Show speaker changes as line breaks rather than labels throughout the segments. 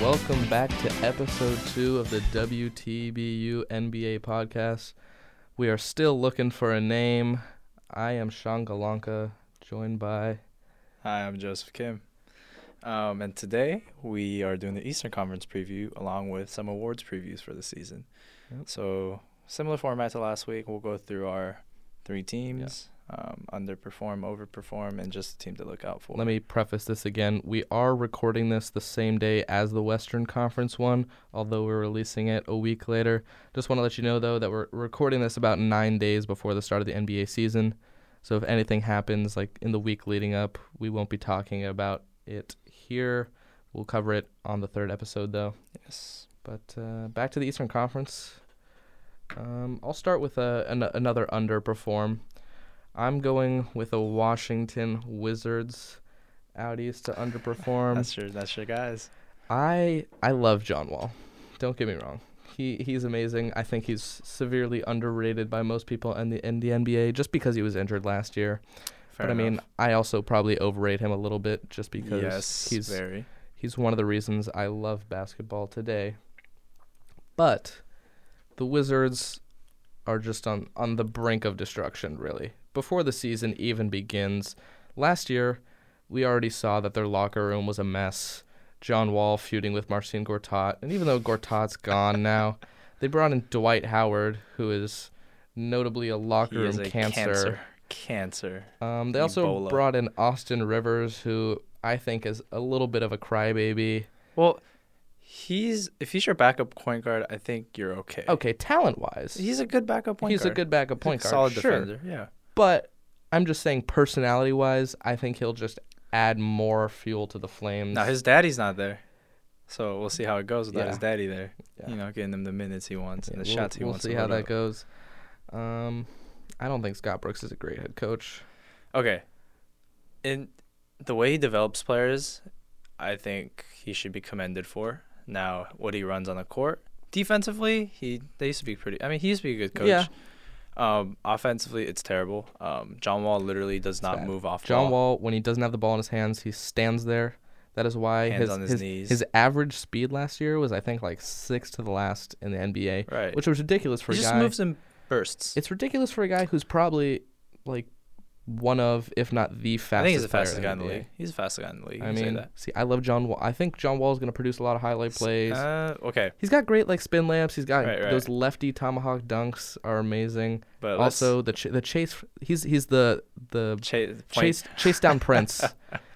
Welcome back to episode two of the WTBU NBA podcast. We are still looking for a name. I am Sean Galanka, joined by.
Hi, I'm Joseph Kim. Um, and today we are doing the Eastern Conference preview along with some awards previews for the season.
Yep.
So, similar format to last week, we'll go through our three teams um, underperform, overperform, and just the team to look out for.
Let me preface this again. We are recording this the same day as the Western Conference one, although we're releasing it a week later. Just want to let you know, though, that we're recording this about nine days before the start of the NBA season. So if anything happens, like in the week leading up, we won't be talking about it here. We'll cover it on the third episode, though.
Yes.
But uh, back to the Eastern Conference. Um, I'll start with a, an, another underperform. I'm going with the Washington Wizards out east to underperform.
That's your, that's your guys.
I I love John Wall. Don't get me wrong. He he's amazing. I think he's severely underrated by most people in the in the NBA just because he was injured last year.
Fair
but I mean,
enough.
I also probably overrate him a little bit just because
yes,
he's
very.
He's one of the reasons I love basketball today. But the Wizards are just on, on the brink of destruction, really. Before the season even begins, last year, we already saw that their locker room was a mess. John Wall feuding with Marcin Gortat. And even though Gortat's gone now, they brought in Dwight Howard, who is notably a locker
He
room
is a
cancer.
cancer. Cancer.
Um, they also
Ebola.
brought in Austin Rivers, who I think is a little bit of a crybaby.
Well, he's if he's your backup point guard, I think you're okay.
Okay, talent wise, he's,
He's a good backup point guard.
a good backup
He's a
point guard,
Solid
sure.
defender. Yeah.
But I'm just saying, personality wise, I think he'll just add more fuel to the flames.
Now his daddy's not there, so we'll see how it goes without his
Yeah.
daddy there.
Yeah.
You know, getting him the minutes he wants
Yeah,
and the
we'll,
shots he
we'll
wants.
see
to
how
load
that
up.
goes. Um, I don't think Scott Brooks is a great head coach.
Okay, and the way he develops players, I think he should be commended for. Now, what he runs on the court defensively, he they used to be pretty. I mean, he used to be a good coach.
Yeah.
Um, offensively, it's terrible. Um, John Wall literally does not
bad.
move off.
John
ball.
Wall, when he doesn't have the ball in his hands, he stands there. That is why
Hands
his
on his
his,
knees.
his average speed last year was I think like sixth to the last in the NBA,
Right.
which was ridiculous for
he
a
just
guy.
moves in bursts.
It's ridiculous for a guy who's probably like one of, if not the fastest.
I think he's the
player
fastest
in
guy in the
NBA.
league. He's the fastest guy in the league. you
I
can say
mean,
that.
see, I love John Wall. I think John Wall is going to produce a lot of highlight plays.
Uh, okay,
he's got great like spin layups. He's got
Right, right.
those lefty tomahawk dunks are amazing.
but let's-
also, the ch- the chase. He's he's the the
Chase,
chase chase down prince.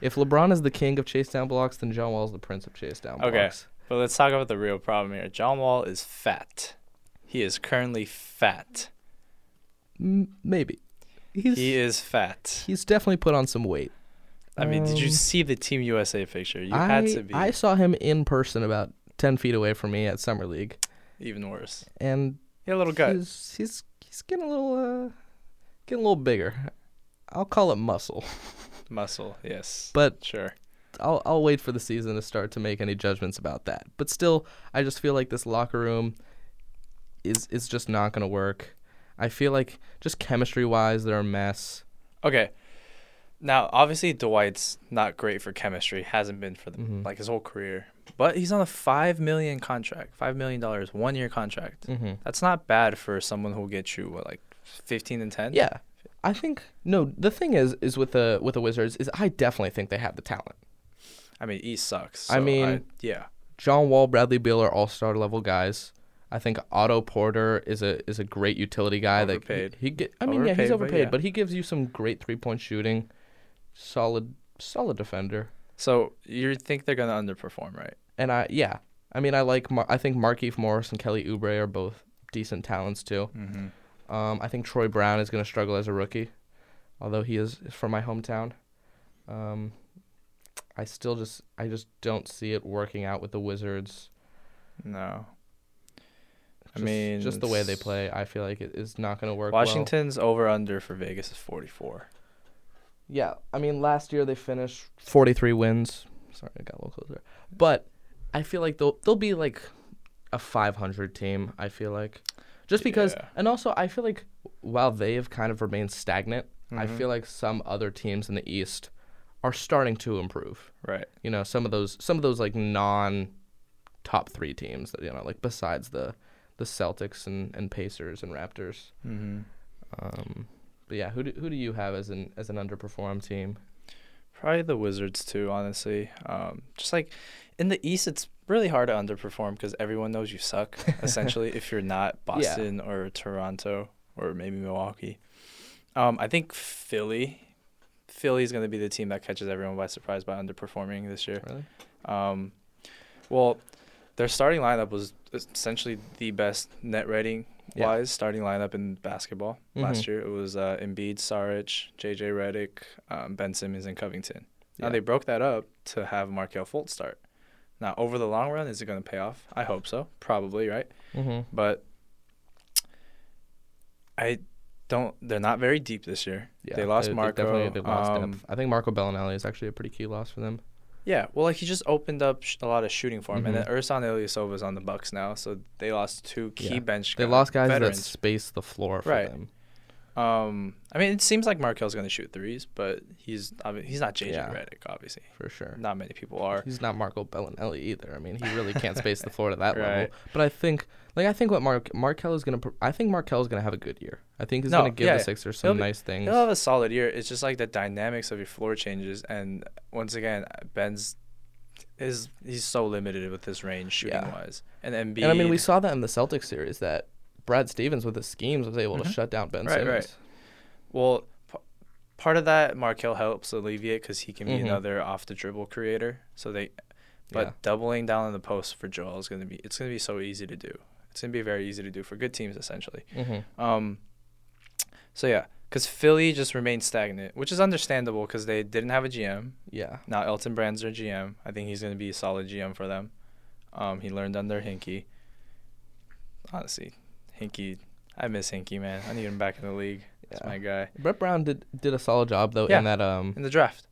if LeBron is the king of chase down blocks, then John Wall is the prince of chase down
Okay.
blocks.
But let's talk about the real problem here. John Wall is fat. He is currently fat.
M- maybe. He's
He is fat.
he's definitely put on some weight.
I mean, did you
Um,
see the Team USA picture? You
I,
had to be
I saw him in person about ten feet away from me at summer league,
even worse.
and
He had a little gut.
he's he's he's getting a little uh, getting a little bigger. I'll call it muscle,
Muscle, yes.
but
sure.
I'll I'll wait for the season to start to make any judgments about that. But still, I just feel like this locker room is is just not gonna work. I feel like just chemistry wise, they're a mess.
Okay. Now, obviously, Dwight's not great for chemistry. Hasn't been for the,
Mm-hmm.
like his whole career. But he's on a five million contract, five million dollars, one year contract.
Mm-hmm.
That's not bad for someone who will get you what, like fifteen and ten.
Yeah, I think no. The thing is, is with the with the Wizards is I definitely think they have the talent.
I mean, East sucks.
I
so
mean-
yeah.
John Wall, Bradley Beal are all star level guys. I think Otto Porter is a is a great utility guy
Overpaid.
that he, he get, I mean yeah he's
Overpaid, but
overpaid
yeah.
but he gives you some great three point shooting, solid solid defender
So you think they're gonna underperform, right?
and I yeah I mean I like Mar- I think Markeith Morris and Kelly Oubre are both decent talents too.
Mm-hmm.
Um, I think Troy Brown is going to struggle as a rookie, although he is is from my hometown. Um, I still just I just don't see it working out with the Wizards.
No. I
Just-
mean,
just the way they
it's-
play, I feel like it is not going to work. well.
Washington's over under for Vegas is 44.
Yeah, I mean, last year they finished 43 wins. Sorry, I got a little closer. But I feel like they'll they'll be like a 500 team. I feel like just because,
Yeah.
and also I feel like while they have kind of remained stagnant, I
Mhm.
feel like some other teams in the East are starting to improve.
Right.
You know, some of those some of those like non top three teams that you know, like besides the the Celtics and, and Pacers and Raptors.
Mm-hmm.
Um, but yeah, who do, who do you have as an as an underperformed team?
Probably the Wizards too, honestly. Um, just like in the East, it's really hard to underperform because everyone knows you suck. essentially, if you're not Boston or Toronto or maybe Milwaukee, um, I think Philly. Philly's going to be the team that catches everyone by surprise by underperforming this year.
Really?
Um, well, their starting lineup was essentially the best net rating
Yeah.
wise starting lineup in basketball last
Mhm.
year. It was uh, Embiid, Saric, JJ Redick, um, Ben Simmons, and Covington. Now
Yeah.
they broke that up to have Markel Fultz start. Now, over the long run, is it going to pay off? I hope so. Probably, right?
Mm-hmm.
But I don't. They're not very deep this year. they lost Marco.
definitely, they lost
um,
depth. I think Marco Bellinelli is actually a pretty key loss for them.
Yeah, well, like he just opened up sh- a lot of shooting for him, and
Mhm.
then Ursan Ilyasova is on the Bucks now, so they lost two key
Yeah.
bench.
They
guy-
lost guys that
veterans.
space the floor for
Right.
them.
Um, I mean, it seems like Markel's gonna shoot threes, but he's I mean, he's not JJ
Yeah.
Redick, obviously.
For sure.
Not many people are.
He's not Marco Bellinelli either. I mean, he really can't space the floor to that
Right.
level. But I think, like, I think what Mark Markel is gonna, pr- I think Markel is gonna have a good year. I think he's
No,
gonna give
yeah,
the Sixers some
be-
nice things.
He'll have a solid year. It's just like the dynamics of your floor changes, and once again, Ben's is he's so limited with his range shooting
Yeah.
wise, and Embiid.
and I mean, we saw that in the Celtics series that Brad Stevens with his schemes was able to shut down Ben
Mm-hmm. Right, right.
Simmons.
well, p- part of that Markel helps alleviate because he can be
Mhm.
another off the dribble creator. So they, but
Yeah.
doubling down in the post for Joel is gonna be it's gonna be so easy to do. It's gonna be very easy to do for good teams essentially.
Mm-hmm.
Um, so yeah, because Philly just remained stagnant, which is understandable because they didn't have a GM.
Yeah.
Now Elton Brand's their GM. I think he's gonna be a solid GM for them. Um, he learned under Hinkie. Honestly, Hinkie, I miss Hinkie, man. I need him back in the league. That's
Yeah.
my guy.
Brett Brown did did a solid job though
Yeah.
in that um
In the draft,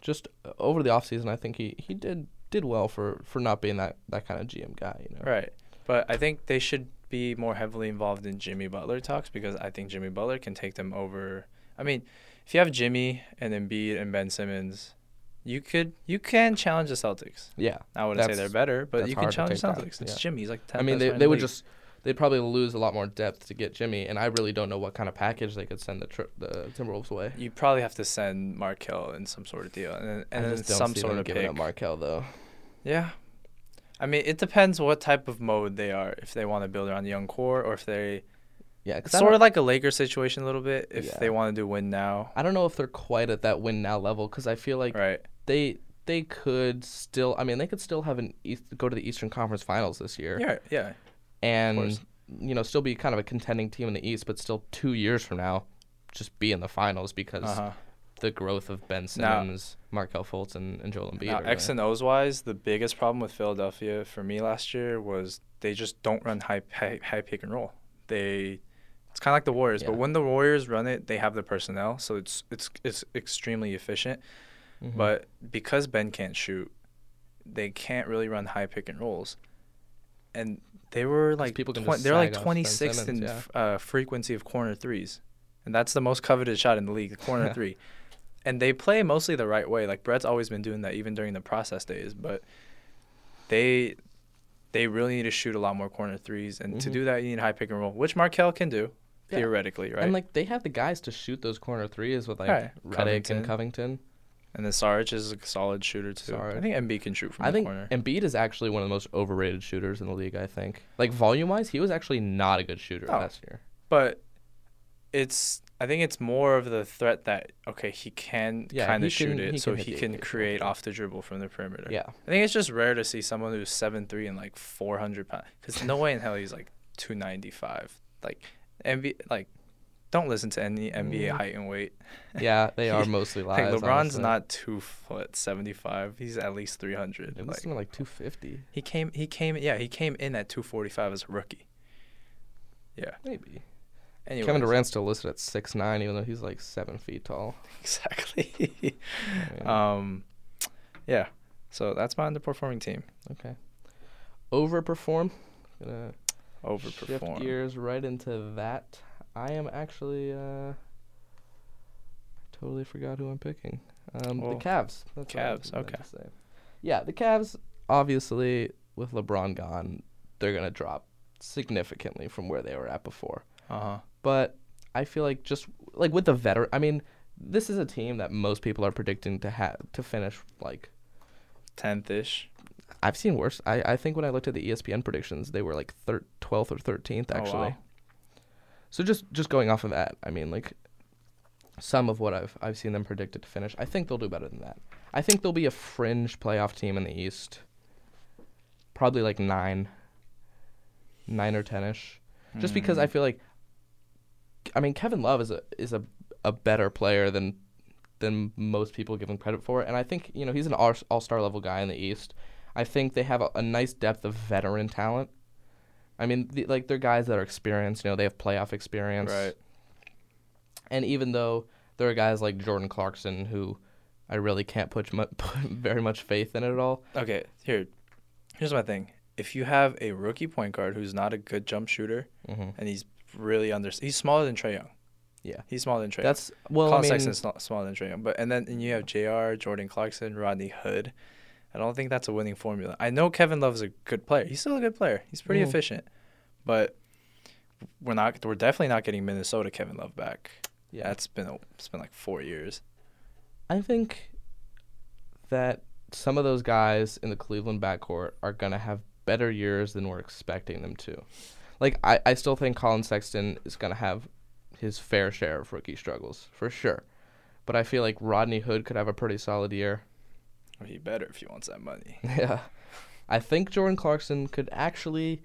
just over the offseason I think he, he did did well for for not being that that kind of GM guy, you know.
right? But I think they should be more heavily involved in Jimmy Butler talks because I think Jimmy Butler can take them over. I mean, if you have Jimmy and Embiid and Ben Simmons, you could you can challenge the Celtics.
Yeah.
I wouldn't say they're
That's-
better, but
that's
you can
hard to
challenge
take
Celtics.
back,
It's
yeah.
Jimmy. He's like ten.
I mean they they would just they'd probably lose a lot more depth to get Jimmy and I really don't know what kind of package they could send the tri- the Timberwolves way.
You probably have to send Markel in some sort of deal, and then, and
I
then
just don't
some
see
sort
them
of
giving
pick.
up Markel though.
yeah, I mean it depends what type of mode they are. If they want to build around young core, or if they
Yeah,
it's
cause
sort
I,
of like a Lakers situation a little bit. If
Yeah.
they want to do win now,
don't, I don't know if they're quite at that win now level cuz I feel like
right?
they they could still I mean they could still have an East, go to the Eastern Conference Finals this year.
Yeah, yeah.
and
course.
you know still be kind of a contending team in the East, but still two years from now, just be in the finals because
Uh huh.
the growth of Ben
Now-
Simmons, Markel Fultz, and, and Joel Embiid.
Now
are gonna-
X and O's wise, the biggest problem with Philadelphia for me last year was they just don't run high high, high pick and roll. They it's kind of like the Warriors, but
Yeah.
when the Warriors run it, they have the personnel, so it's it's it's extremely efficient.
Mhm.
But because Ben can't shoot, they can't really run high pick and rolls. And they were like
people can
twen-
just
they're like
sag off Ben
26th in
Simmons,
f- uh, frequency of corner threes, and that's the most coveted shot in the league, the corner three. And they play mostly the right way. Like Brett's always been doing that, even during the process days. But they they really need to shoot a lot more corner threes, and to
Mhm.
do that, you need high pick and roll, which Markel can do
Yeah.
theoretically, right?
and
And,
like they have the guys to shoot those corner threes with like
Right.
Redick
Covington.
and Covington.
then Saric is a solid shooter too. I
Saric.
think MB can shoot from
I
the
think
corner.
Embiid is actually one of the most overrated shooters in the league. I think like volume wise, he was actually not a good shooter
No.
last year.
but it's I think it's more of the threat that okay he can
Yeah,
kind
he
of shoot
can-
it
he
so
can hit
he
the
can
occasional
create
three.
off the dribble from the perimeter.
Yeah,
I think it's just rare to see someone who's seven three and like four hundred pounds because no way in hell he's like two ninety five like NBA like don't listen to any NBA
Mm.
height and weight.
yeah, they are mostly
Like
lies.
LeBron's
honestly.
not two foot seventy five. He's at least three hundred.
It was
Like
something like two fifty,
he came he came yeah he came in at two forty five as a rookie. Yeah.
maybe.
Anyway.
Kevin Durant's still listed at six nine, even though he's like seven feet tall.
Exactly.
I mean,
Um, yeah. So that's my underperforming team.
overperform. Gonna shift
Overperform.
gears right into that. I am actually uh, totally forgot who I'm picking. Um,
Well,
the Cavs. That's what I
Cavs,
meant to
okay.
say. Yeah, the Cavs. Obviously, with LeBron gone, they're going to drop significantly from where they were at before.
Uh huh.
But I feel like just like with the veteran, I mean, this is a team that most people are predicting to have to finish like
Tenth ish.
I've seen worse. I, I think when I looked at the E ESPN predictions, they were like thir- 12th or 13th
Oh, wow.
actually. So just just going off of that, I mean like some of what I've I've seen them predicted to finish. I think they'll do better than that. I think they'll be a fringe playoff team in the East. Probably like 9 9 or 10ish. Just
Hmm.
because I feel like I mean Kevin Love is a is a a better player than than most people give him credit for. And I think, you know, he's an all star level guy in the East. I think they have a, a nice depth of veteran talent. I mean, the, like, they're guys that are experienced, you know, they have playoff experience.
Right.
And even though there are guys like Jordan Clarkson who I really can't put, mu- put very much faith in at all,
Okay, here. Here's my thing. If you have a rookie point guard who's not a good jump shooter
hmm
and he's really under, he's smaller than Trey Young.
Yeah.
He's smaller than Trey. Young.
that's, well,
Colin
I mean,
Sexton's not smaller than Trae Young, but and then and you have J.R. Jordan Clarkson, Rodney Hood. I don't think that's a winning formula. I know Kevin Love is a good player. He's still a good player. He's pretty
Mhm.
efficient, but we're not. We're definitely not getting Minnesota Kevin Love back.
yeah.
That's been a, it's been like four years.
I think that some of those guys in the Cleveland backcourt are going to have better years than we're expecting them to. Like, I, I still think Colin Sexton is going to have his fair share of rookie struggles, for sure. But I feel like Rodney Hood could have a pretty solid year.
Or he better if he wants that money.
yeah. I think Jordan Clarkson could actually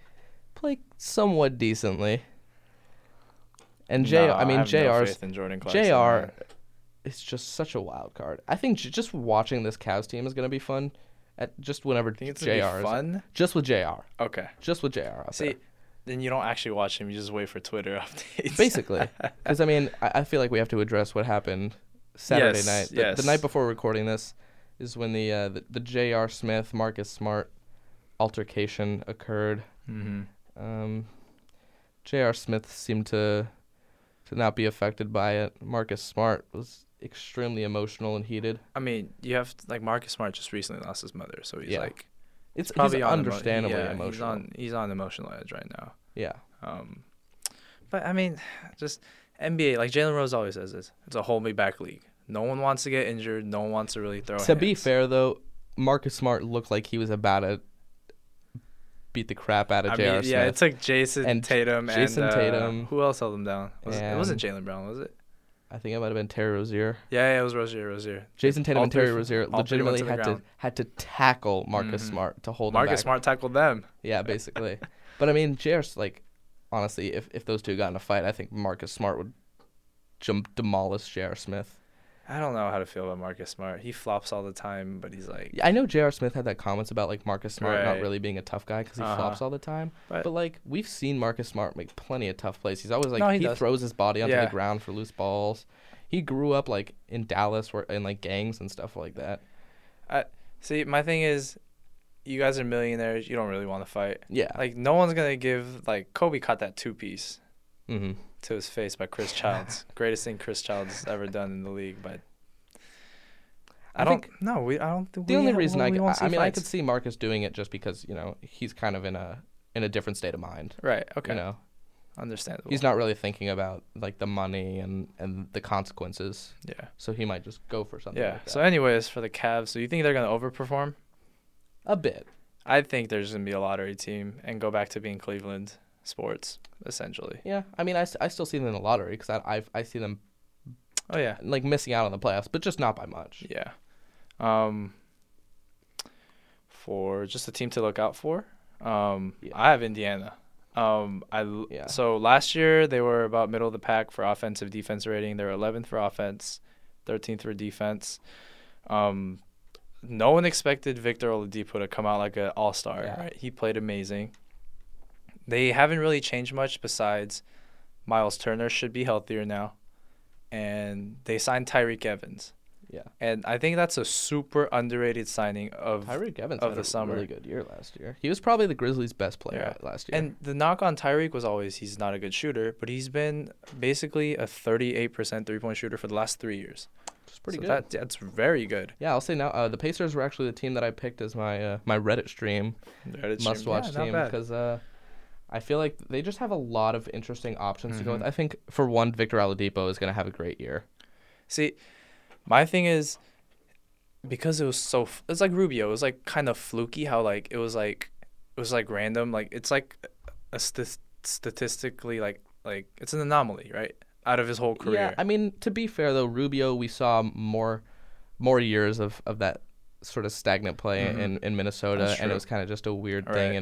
play somewhat decently. And JR,
No,
I mean,
have no
JR's
faith in Jordan Clarkson,
JR
man.
is just such a wild card. I think j- just watching this Cavs team is going to be fun. At just whenever
think it's
JR
gonna be
is,
fun.
just with JR,
Okay.
just with JR out
See,
there.
then you don't actually watch him. You just wait for Twitter updates.
Basically, because I mean, I, I feel like we have to address what happened Saturday
Yes,
night. The, the
yes.
night before recording this is when the uh, the, the JR Smith Marcus Smart altercation occurred.
mm-hmm.
Um, J.R. Smith seemed to to not be affected by it. Marcus Smart was extremely emotional and heated.
I mean, you have like Marcus Smart just recently lost his mother, so he's
Yeah.
like
It's,
probably
he's
on emo-
understandably
yeah, He's
emotional.
on he's on emotional edge right now.
yeah,
Um, but I mean, just NBA like Jalen Rose always says this. It's a hold me back league. No one wants to get injured. No one wants to really throw.
To be
hands.
fair though, Marcus Smart looked like he was about to beat the crap out of
I
J.R.
mean,
Smith.
yeah, it took Jason
And
Tatum
Jason
and uh,
Tatum.
Who else held him down? Was it, it wasn't Jalen Brown, was it?
I think it might have been Terry Rozier.
Yeah, yeah, it was Rozier. Rozier.
Jason Tatum
All
and
three
Terry
f-
Rozier
all three went
legitimately
to the
had to
ground.
had to tackle Marcus
Mhm.
Smart to hold him
Marcus
back.
Smart tackled them.
Yeah, basically. but I mean, JR's like, honestly, if, if those two got in a fight, I think Marcus Smart would jump demolish JR Smith.
I don't know how to feel about Marcus Smart. He flops all the time, but he's like,
Yeah, I know JR Smith had that comments about like Marcus Smart not
Right.
really being a tough guy because he
Uh-huh.
flops all the time.
But-
but like we've seen Marcus Smart make plenty of tough plays. He's always like
No, he
he,
does.
throws his body onto the
Yeah.
ground for loose balls. He grew up like in Dallas where in like gangs and stuff like that.
see, my thing is, you guys are millionaires. You don't really want to fight.
Yeah.
Like no one's gonna give like Kobe caught that two piece
mm-hmm.
to his face by Chris Childs, greatest thing Chris Childs has ever done in the league. But I,
I
don't.
think-
No, we. I don't. think
The
we
only
ha-
reason
we
I, could,
won't
I
see
I mean I
fights.
could see Marcus doing it just because you know he's kind of in a in a different state of mind.
Right. Okay.
You know
Understandable.
he's not really thinking about like the money and and the consequences,
Yeah.
so he might just go for something.
Yeah.
like that.
So, anyways, for the Cavs, do you think they're gonna overperform?
a bit.
I think there's gonna be a lottery team and go back to being Cleveland sports essentially.
Yeah, I mean, I, s- I still see them in the lottery because I I've, I see them
Oh yeah.
like missing out on the playoffs, but just not by much.
Yeah. Um for just a team to look out for. Um
Yeah.
I have Indiana. Um I l-
Yeah.
so last year they were about middle of the pack for offensive defense rating. They were 11th for offense, 13th for defense. Um no one expected Victor Oladipo to come out like an all-star,
Yeah.
right? He played amazing. They haven't really changed much besides Miles Turner should be healthier now. And they signed Tyreek Evans.
Yeah,
And I think that's a super underrated signing of
Tyreek Evans
of
had
the
a
summer.
really good year last year. He was probably the Grizzlies' best player last year.
and the knock on Tyreek was always he's not a good shooter, but he's been basically a 38% three-point shooter for the last 3 years.
It's pretty
So
good.
That, that's very good.
yeah, I'll say now. Uh, the Pacers were actually the team that I picked as my uh, my Reddit stream
Reddit stream.
must watch
Yeah, not
team
bad.
because uh, I feel like they just have a lot of interesting options to go
Mm-hmm.
with. I think for one, Victor Oladipo is going to have a great year.
See, my thing is because it was so f- it's like Rubio. It was like kind of fluky how like it was like it was like random. Like it's like a st- statistically like like it's an anomaly, right? Out of his whole
Yeah,
career.
I mean to be fair though, Rubio we saw more more years of, of that sort of stagnant play in, in Minnesota,
Mm-hmm. That's
and it
true.
was kind of just a weird
All
thing
right.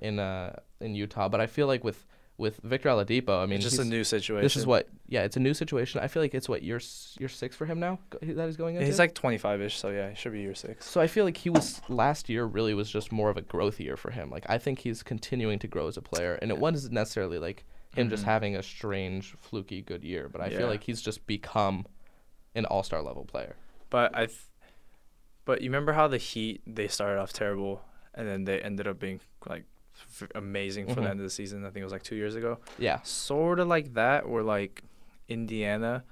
in in uh in Utah. But I feel like with with Victor Oladipo, I mean
it's just a
he's-
new situation.
This is what yeah, it's a new situation. I feel like it's what year s- year six for him now go- that he's going
And
into.
he's like 25ish, so yeah, he should be year 6.
so I feel like he was last year really was just more of a growth year for him. Like I think he's continuing to grow as a player, and it wasn't necessarily like him just having a strange fluky good year, but I
Mm-hmm. Yeah.
feel like he's just become an all star level player.
But I th- but you remember how the Heat they started off terrible and then they ended up being like f- amazing for the
Mhm.
end of the season. I think it was like 2 years ago.
Yeah,
sort of like that where like indiana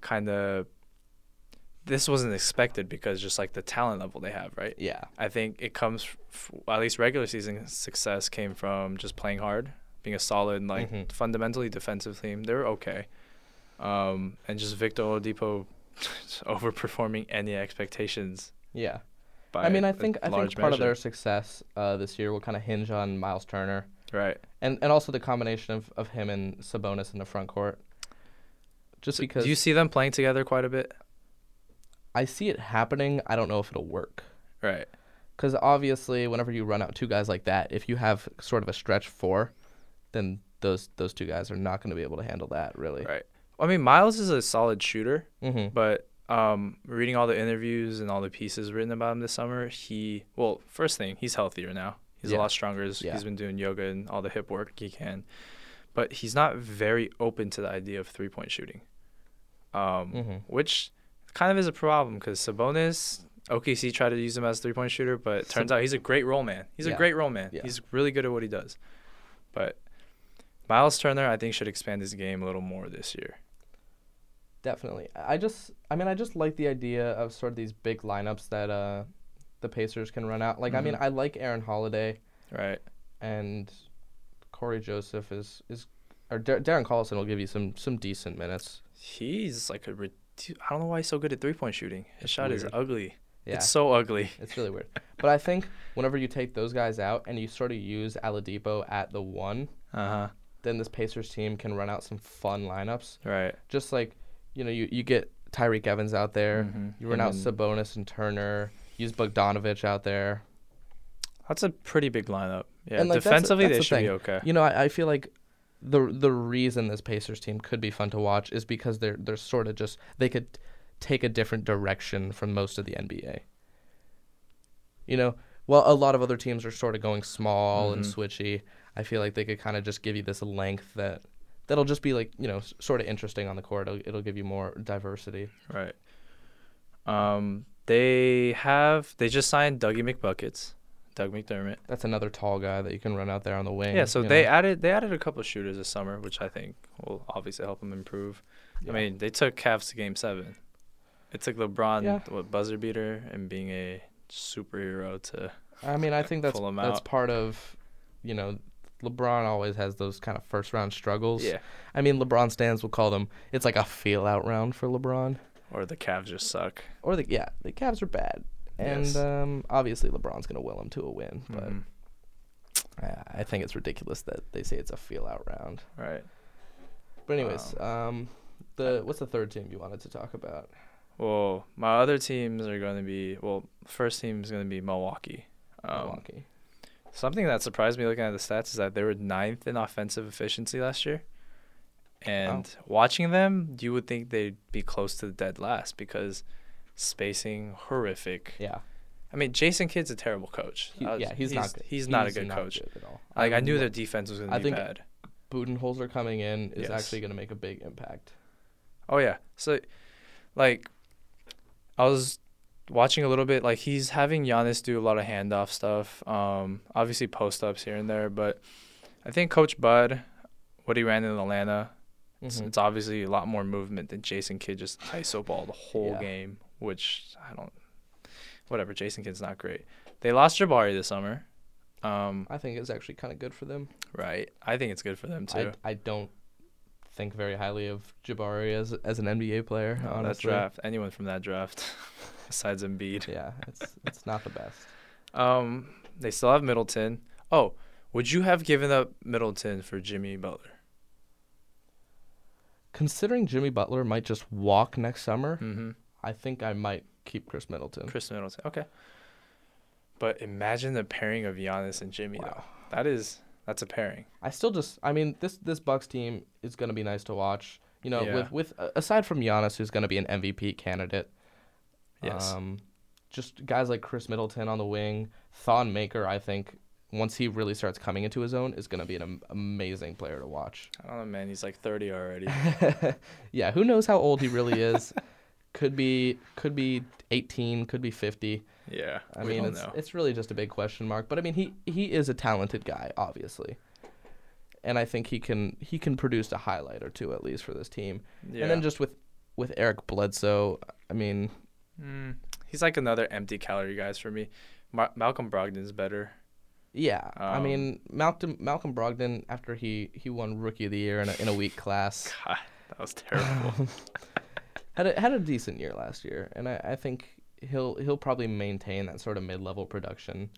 kind of this wasn't expected because just like the talent level they have right
yeah,
i think it comes f- f- at least regular season success came from just playing hard being a solid like
Mhm.
fundamentally defensive team they were okay um, and just victor oladipo just overperforming any expectations
yeah.
by
I mean, I
a
think I think
large
part of their
measure.
success uh, this year will kind of hinge on Miles Turner.
right
And, and also the combination of, of him and Sabonis in the front court. Just
So
because
do you see them playing together quite a bit
I see it happening. I don't know if it'll work.
right
Because obviously, whenever you run out two guys like that, if you have sort of a stretch four, then those those two guys are not going to be able to handle that, really.
right i mean miles is a solid shooter
Mm-hmm.
But um, reading all the interviews and all the pieces written about him this summer, he well, first thing, he's healthier now. He's
Yeah.
a lot stronger. He's-
Yeah.
He's been doing yoga and all the hip work he can, but he's not very open to the idea of three point shooting, um,
Mhm.
which kind of is a problem because Sabonis. OKC tried to use him as a three point shooter, but it turns out he's a great role man. He's
Yeah.
a great role man.
Yeah.
He's really good at what he does. But Miles Turner, I think, should expand his game a little more this year.
Definitely. I I just, I mean, I just like the idea of sort of these big lineups that uh, the Pacers can run out. Like, I mean,
Mm-hmm.
I like Aaron Holiday
Right.
and Corey Joseph is is, or Dar- Darren Collison will give you some some decent minutes.
He's like a. rid- I don't know why he's so good at three point shooting. His
It's
shot is
weird.
ugly.
Yeah.
It's so ugly.
It's really weird. But I think whenever you take those guys out and you sort of use Aladipo at the one,
Uh
Uh-huh.
huh.
then this Pacers team can run out some fun lineups.
Right.
Just like, you know, you, you get Tyreek Evans out there,
Mhm.
you run
And
out Sabonis and Turner, use Bogdanovich out there.
That's a pretty big lineup. Yeah.
And, like, that's-
Defensively,
that's the
they should
thing.
be okay.
You know, I, I feel like the the reason this Pacers team could be fun to watch is because they're they're sort of just they could take a different direction from most of the NBA. You know, well, a lot of other teams are sort of going small and
Mm-hmm.
switchy. I feel like they could kind of just give you this length that that'll just be like you know sort of interesting on the court. It'll, it'll give you more diversity.
Right. Um, they have. They just signed Dougie McBuckets, Doug McDermott.
That's another tall guy that you can run out there on the wing.
Yeah. So
you
they
know?
added. They added a couple of shooters this summer, which I think will obviously help them improve.
Yeah.
I mean, they took Cavs to Game Seven. It took LeBron
Yeah.
what buzzer beater and being a superhero to
I mean, I think that's
Pull 'em
that's
out.
part of, you know, LeBron always has those kind of first round struggles.
yeah.
I mean, LeBron stands will call them. It's like a feel out round for LeBron.
Or the Cavs just suck.
Or the yeah, the Cavs are bad, and
Yes.
um, obviously LeBron's gonna will them to a win. But
Mhm.
I, I think it's ridiculous that they say it's a feel out round.
Right.
But anyways, um, the what's the third team you wanted to talk about?
Well, my other teams are going to be well. First team is going to be Milwaukee. Um,
Milwaukee.
Something that surprised me looking at the stats is that they were ninth in offensive efficiency last year. And
Oh.
watching them, you would think they'd be close to the dead last because spacing horrific.
Yeah,
I mean, Jason Kidd's a terrible coach.
He-
I was-
yeah, he's, not good.
He's not a good coach.
at all.
Like I knew
lo-
their defense was going
I
to be
think-
bad.
Budenholzer coming in is
Yes.
actually gonna make a big impact.
Oh yeah. So like I was watching a little bit like he's having Giannis do a lot of handoff stuff. Um obviously post ups here and there, but I think coach Bud what he ran in Atlanta It's,
Mhm.
it's obviously a lot more movement than Jason Kidd just iso ball the whole
Yeah.
game, which I don't. Whatever, Jason Kidd's not great. They lost Jabari this summer. Um,
I think it's actually kind of good for them.
right. I think it's good for them too.
I, I don't think very highly of Jabari as as an NBA player.
No, that
honestly,
draft, anyone from that draft, besides Embiid.
yeah, it's it's not the best.
Um, they still have Middleton. Oh, would you have given up Middleton for Jimmy Butler?
Considering Jimmy Butler might just walk next summer,
Mm-hmm.
I think I might keep Chris Middleton.
Chris Middleton. Okay. But imagine the pairing of Giannis and Jimmy
Wow.
though. That is that's a pairing.
I still just I mean this this Bucks team is going to be nice to watch. You know,
Yeah.
with with uh, aside from Giannis who's going to be an MVP candidate.
Yes.
Um just guys like Chris Middleton on the wing, Thon Maker I think once he really starts coming into his own is going to be an am- amazing player to watch.
I don't know, man. He's like 30 already.
yeah, who knows how old he really is? could be could be 18, could be 50.
yeah.
I
we
mean,
don't
it's
know.
it's really just a big question mark. But I mean, he he is a talented guy, obviously, and I think he can he can produce a highlight or two at least for this team.
yeah.
And then just with with Eric Bledsoe, I mean,
mm, he's like another empty calorie guys for me. Mar- Malcolm Brogdon's better.
yeah, I
Um,
mean Malcolm Malcolm Brogdon after he he won Rookie of the Year in a, in a weak class
God, that was terrible.
had a, had a decent year last year, and I, I think he'll he'll probably maintain that sort of mid level production.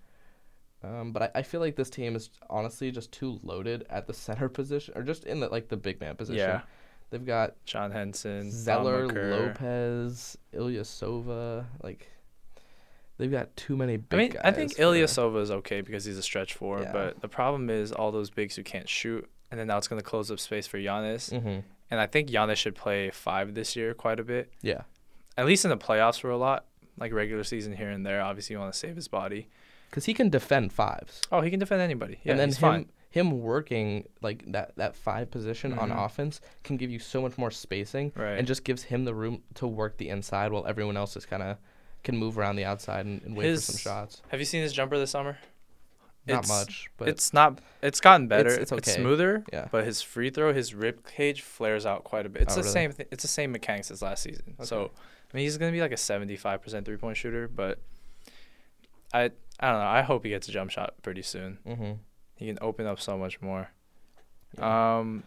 Um, but I, I feel like this team is honestly just too loaded at the center position, or just in the like the big man position.
Yeah.
They've got
John Henson, Thon
Zeller,
Maker.
Lopez, Ilyasova. Like they've got too many
I
big.
mean, I
guys
think
for-
Ilyasova is okay because he's a stretch four,
Yeah.
but the problem is all those bigs who can't shoot, and then now it's going to close up space for Giannis.
Mhm.
And I think Giannis should play five this year quite a bit,
Yeah,
at least in the playoffs for a lot, like regular season here and there. Obviously, you want to save his body.
because he can defend fives,
Oh, he can defend anybody. Yeah,
and then
he's
him
fine.
him working like that that five position on
Mhm.
offense can give you so much more spacing.
Right.
and just gives him the room to work the inside while everyone else is kind of can move around the outside and, and wait
His-
for some shots.
Have you seen his jumper this summer?
Not
It's-
much, but
it's not. It's gotten better.
It's-
It's,
it's okay.
smoother.
Yeah.
But his free throw, his rib cage flares out quite a bit. It's
Oh,
the
really?
same. Th- it's the same mechanics as last season. So,
Okay.
I mean, he's gonna be like a seventy-five percent three-point shooter. But I, I don't know. I hope he gets a jump shot pretty soon.
hmm
He can open up so much more. Um,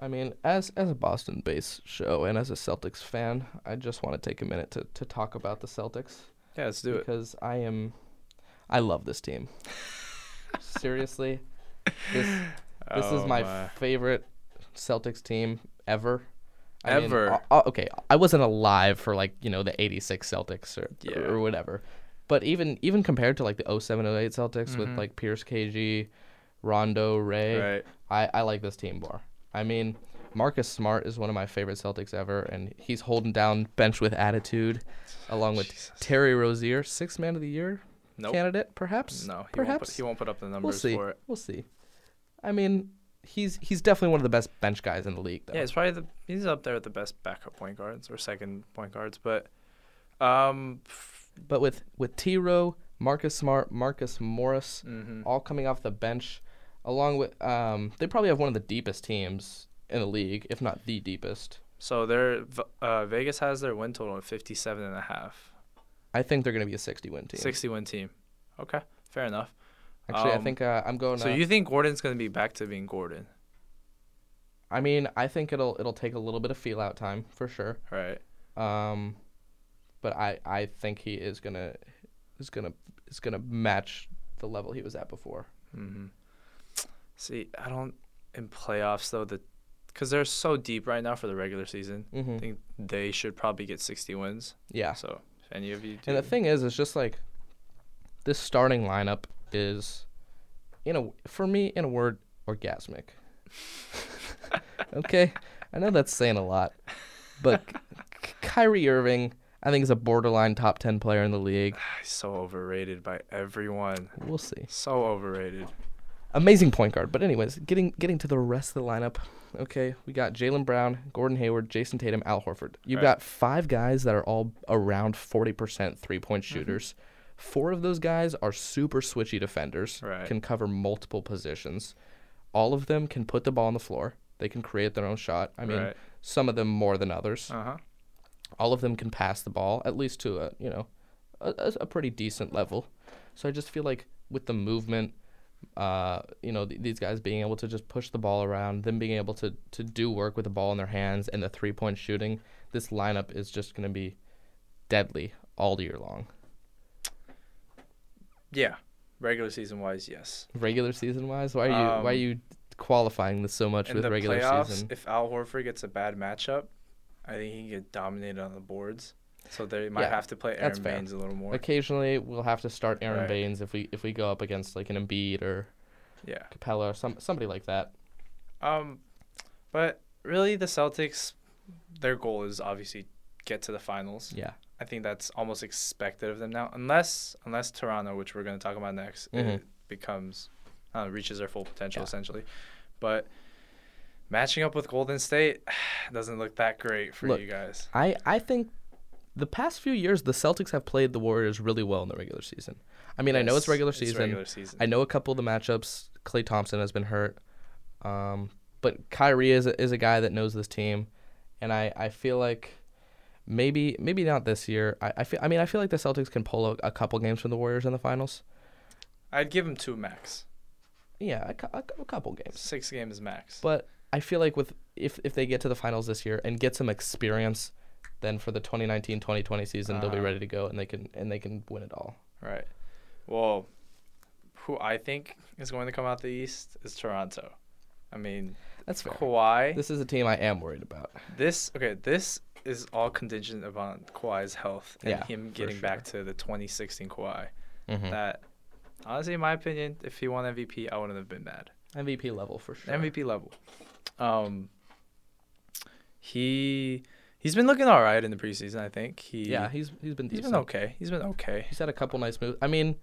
I mean, as as a Boston-based show and as a Celtics fan, I just want to take a minute to, to talk about the Celtics
yeah, let's do it.
because I am, I love this team. Seriously, this this is
Oh
my, favorite Celtics team ever. I mean,
Ever.
o- o- okay, I wasn't alive for like you know the '86 Celtics or,
Yeah.
or whatever, but even even compared to like the 07 08 Celtics with like Pierce, KG, Rondo, Ray,
Mm-hmm. Right.
I I like this team more. I mean, Marcus Smart is one of my favorite Celtics ever, and he's holding down bench with attitude, along with Terry Rozier, sixth man of the year
Nope.
candidate, perhaps.
No, he won't, put,
perhaps
he won't put up the
We'll
numbers
see.
for it.
We'll see. I mean, he's he's definitely one of the best bench guys in the league, though.
Yeah, he's probably the he's up there with the best backup point guards or second point guards, but um,
But with with T. Rowe, Marcus Smart, Marcus Morris,
mhm.
all coming off the bench, along with um, they probably have one of the deepest teams in the league, if not the deepest.
so their V- uh, Vegas has their win total at 57 and a half.
I think they're going to be a 60 win team.
60 win team. Okay, fair enough.
Actually, I
um,
think uh, I'm going.
So
uh,
you think Gordon's going to be back to being Gordon,
I mean, I think it'll it'll take a little bit of feel out time for sure.
right?
Um, but I I think he is gonna is gonna is gonna match the level he was at before.
Mhm. See, I don't in playoffs though the cuz they're so deep right now for the regular season.
Mm-hmm.
I think they should probably get 60 wins.
Yeah.
So, if any of you do
And the thing is, it's just like this starting lineup is, in a for me, in a word, orgasmic. okay, I know that's saying a lot, but K- Kyrie Irving, I think, is a borderline top ten player in the league.
He's so overrated by everyone.
We'll see.
So overrated.
Amazing point guard, but anyways, getting getting to the rest of the lineup. Okay, we got Jalen Brown, Gordon Hayward, Jason Tatum, Al Horford. You've
Right.
got five guys that are all around forty percent three point
Mm-hmm.
shooters. Four of those guys are super switchy defenders.
Right.
Can cover multiple positions. All of them can put the ball on the floor. They can create their own shot. I mean,
right.
some of them more than others.
Uh huh.
All of them can pass the ball at least to a you know a, a, a pretty decent level. So I just feel like with the movement, uh, you know, th- these guys being able to just push the ball around, them being able to to do work with the ball in their hands and the three point shooting, this lineup is just going to be deadly all year long.
Yeah. Regular season wise, yes.
Regular season wise, why are you why are
Um,
you qualifying this so much
In
with
the
regular
playoffs,
season?
if Al Horford gets a bad matchup, I think he can get dominated on the boards. So they might
Yeah,
have to play
that's
Aaron
fair.
Baines a little more.
Occasionally, we'll have to start Aaron
Right.
Baines if we if we go up against like an Embiid or
Yeah.
Capella or some somebody like that.
Um, but really, the Celtics, their goal is obviously get to the finals.
Yeah,
I think that's almost expected of them now, unless unless Toronto, which we're going to talk about next,
Mhm.
it becomes uh, reaches their full potential
Yeah.
essentially. But matching up with Golden State doesn't look that great for
Look,
you guys.
I I think the past few years the Celtics have played the Warriors really well in the regular season. I mean, I know it's
Yes,
regular season.
regular season.
I know a couple of the matchups. Clay Thompson has been hurt, um, but Kyrie is a, is a guy that knows this team, and I, I feel like maybe maybe not this year. I, I feel I mean I feel like the Celtics can pull a, a couple games from the Warriors in the finals.
I'd give them two max,
Yeah, a, cou- a cou- a couple games.
six games max.
But I feel like with if if they get to the finals this year and get some experience, then for the 2019-2020 season they'll be
Uh-huh.
ready to go and they can and they can win it all.
right. Well, who I think is going to come out the East is Toronto. I mean,
That's fair.
Kawhi.
This is a team I am worried about.
This okay. This is all contingent upon Kawhi's health and
Yeah,
him
for
getting back to the 2016 Kawhi.
Mhm.
That honestly, in my opinion, if he won MVP, I wouldn't have been mad.
MVP level for sure.
MVP level. Um. He he's been looking all right in the preseason. I think he
Yeah, he's he's been
he's
decent.
been okay. He's been okay.
He's had a couple nice moves. I mean,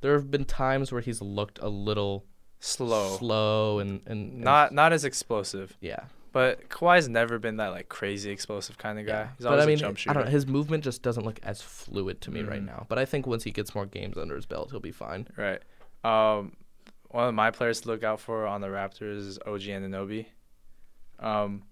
there have been times where he's looked a little
Slow.
slow and, and, and-
Not not as explosive,
yeah.
but Kawhi's never been that like crazy explosive kind of guy.
yeah.
He's
but
always
I mean,
a jump
I
shooter.
don't know. His movement just doesn't look as fluid to me right
Mhm.
now. But I think once he gets more games under his belt, he'll be fine.
Right. Um, one of my players to look out for on the Raptors is OG Ananobi. Um,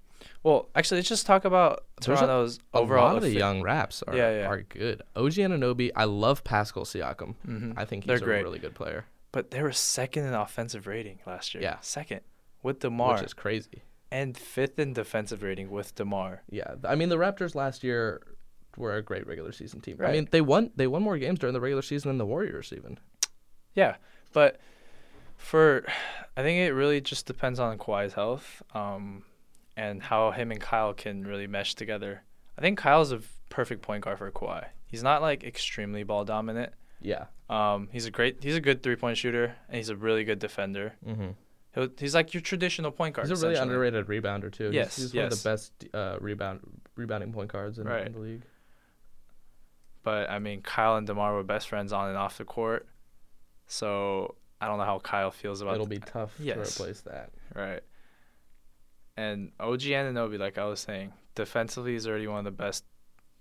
well, actually, let's just talk about
There's a-
Toronto's
a
overall.
lot of the
effi-
young raps are,
Yeah, yeah.
are good. OG Ananobi, I love Pascal Siakam.
Mhm.
I think
They're
he's a
great.
really good player,
But they were second in offensive rating last year.
Yeah.
Second with DeMar.
which is crazy.
And fifth in defensive rating with DeMar.
Yeah, I mean the Raptors last year were a great regular season team. I
Right.
mean they won they won more games during the regular season than the Warriors even.
Yeah. But for, I think it really just depends on Kawhi's health um, and how him and Kyle can really mesh together. I think Kyle's a v- perfect point guard for Kawhi. He's not like extremely ball dominant.
Yeah.
Um, he's a great, he's a good three point shooter, and he's a really good defender.
Mm-hmm.
He'll, he's like your traditional point guard.
He's a really
essentially.
underrated rebounder too. He's-
Yes,
he's, one of
yes.
the best uh, rebound rebounding point guards in,
Right.
in the league.
But I mean, Kyle and Demar were best friends on and off the court, so I don't know how Kyle feels about
It'll be tough to
yes.
replace that.
right. And OG Ananobi, like I was saying, defensively is already one of the best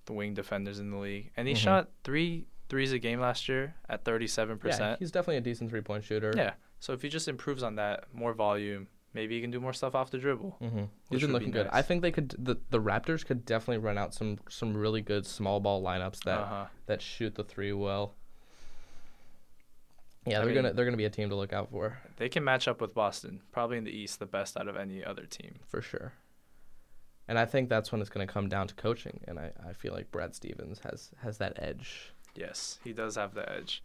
wing defenders in the league, and he
Mhm.
shot three threes a game last year at thirty seven
Yeah,
percent.
he's definitely a decent three point shooter.
Yeah. So if he just improves on that, more volume, maybe he can do more stuff off the dribble.
Mm-hmm.
Which
He's been
would be
looking good.
nice.
I think they could the, the Raptors could definitely run out some some really good small ball lineups that
Uh-huh.
that shoot the three well. Yeah,
I
they're
mean-
gonna they're gonna be a team to look out for
They can match up with Boston, probably in the East, the best out of any other team.
for sure. And I think that's when it's gonna come down to coaching. And I, I feel like Brad Stevens has has that edge.
Yes, he does have the edge,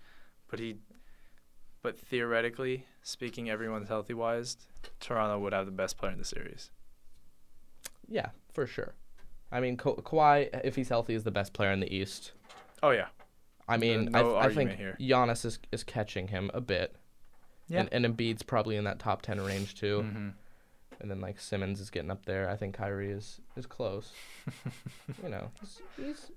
but he, but theoretically speaking, everyone's healthy wise, Toronto would have the best player in the series.
Yeah, for sure. I mean, Ka- Kawhi, if he's healthy, is the best player in the East.
Oh yeah,
I mean,
no
I, I
argument
think
here.
Giannis is, is catching him a bit.
Yeah.
And, and Embiid's probably in that top 10 range, too.
hmm
And then, like, Simmons is getting up there. I think Kyrie is, is close. you know, he's, he's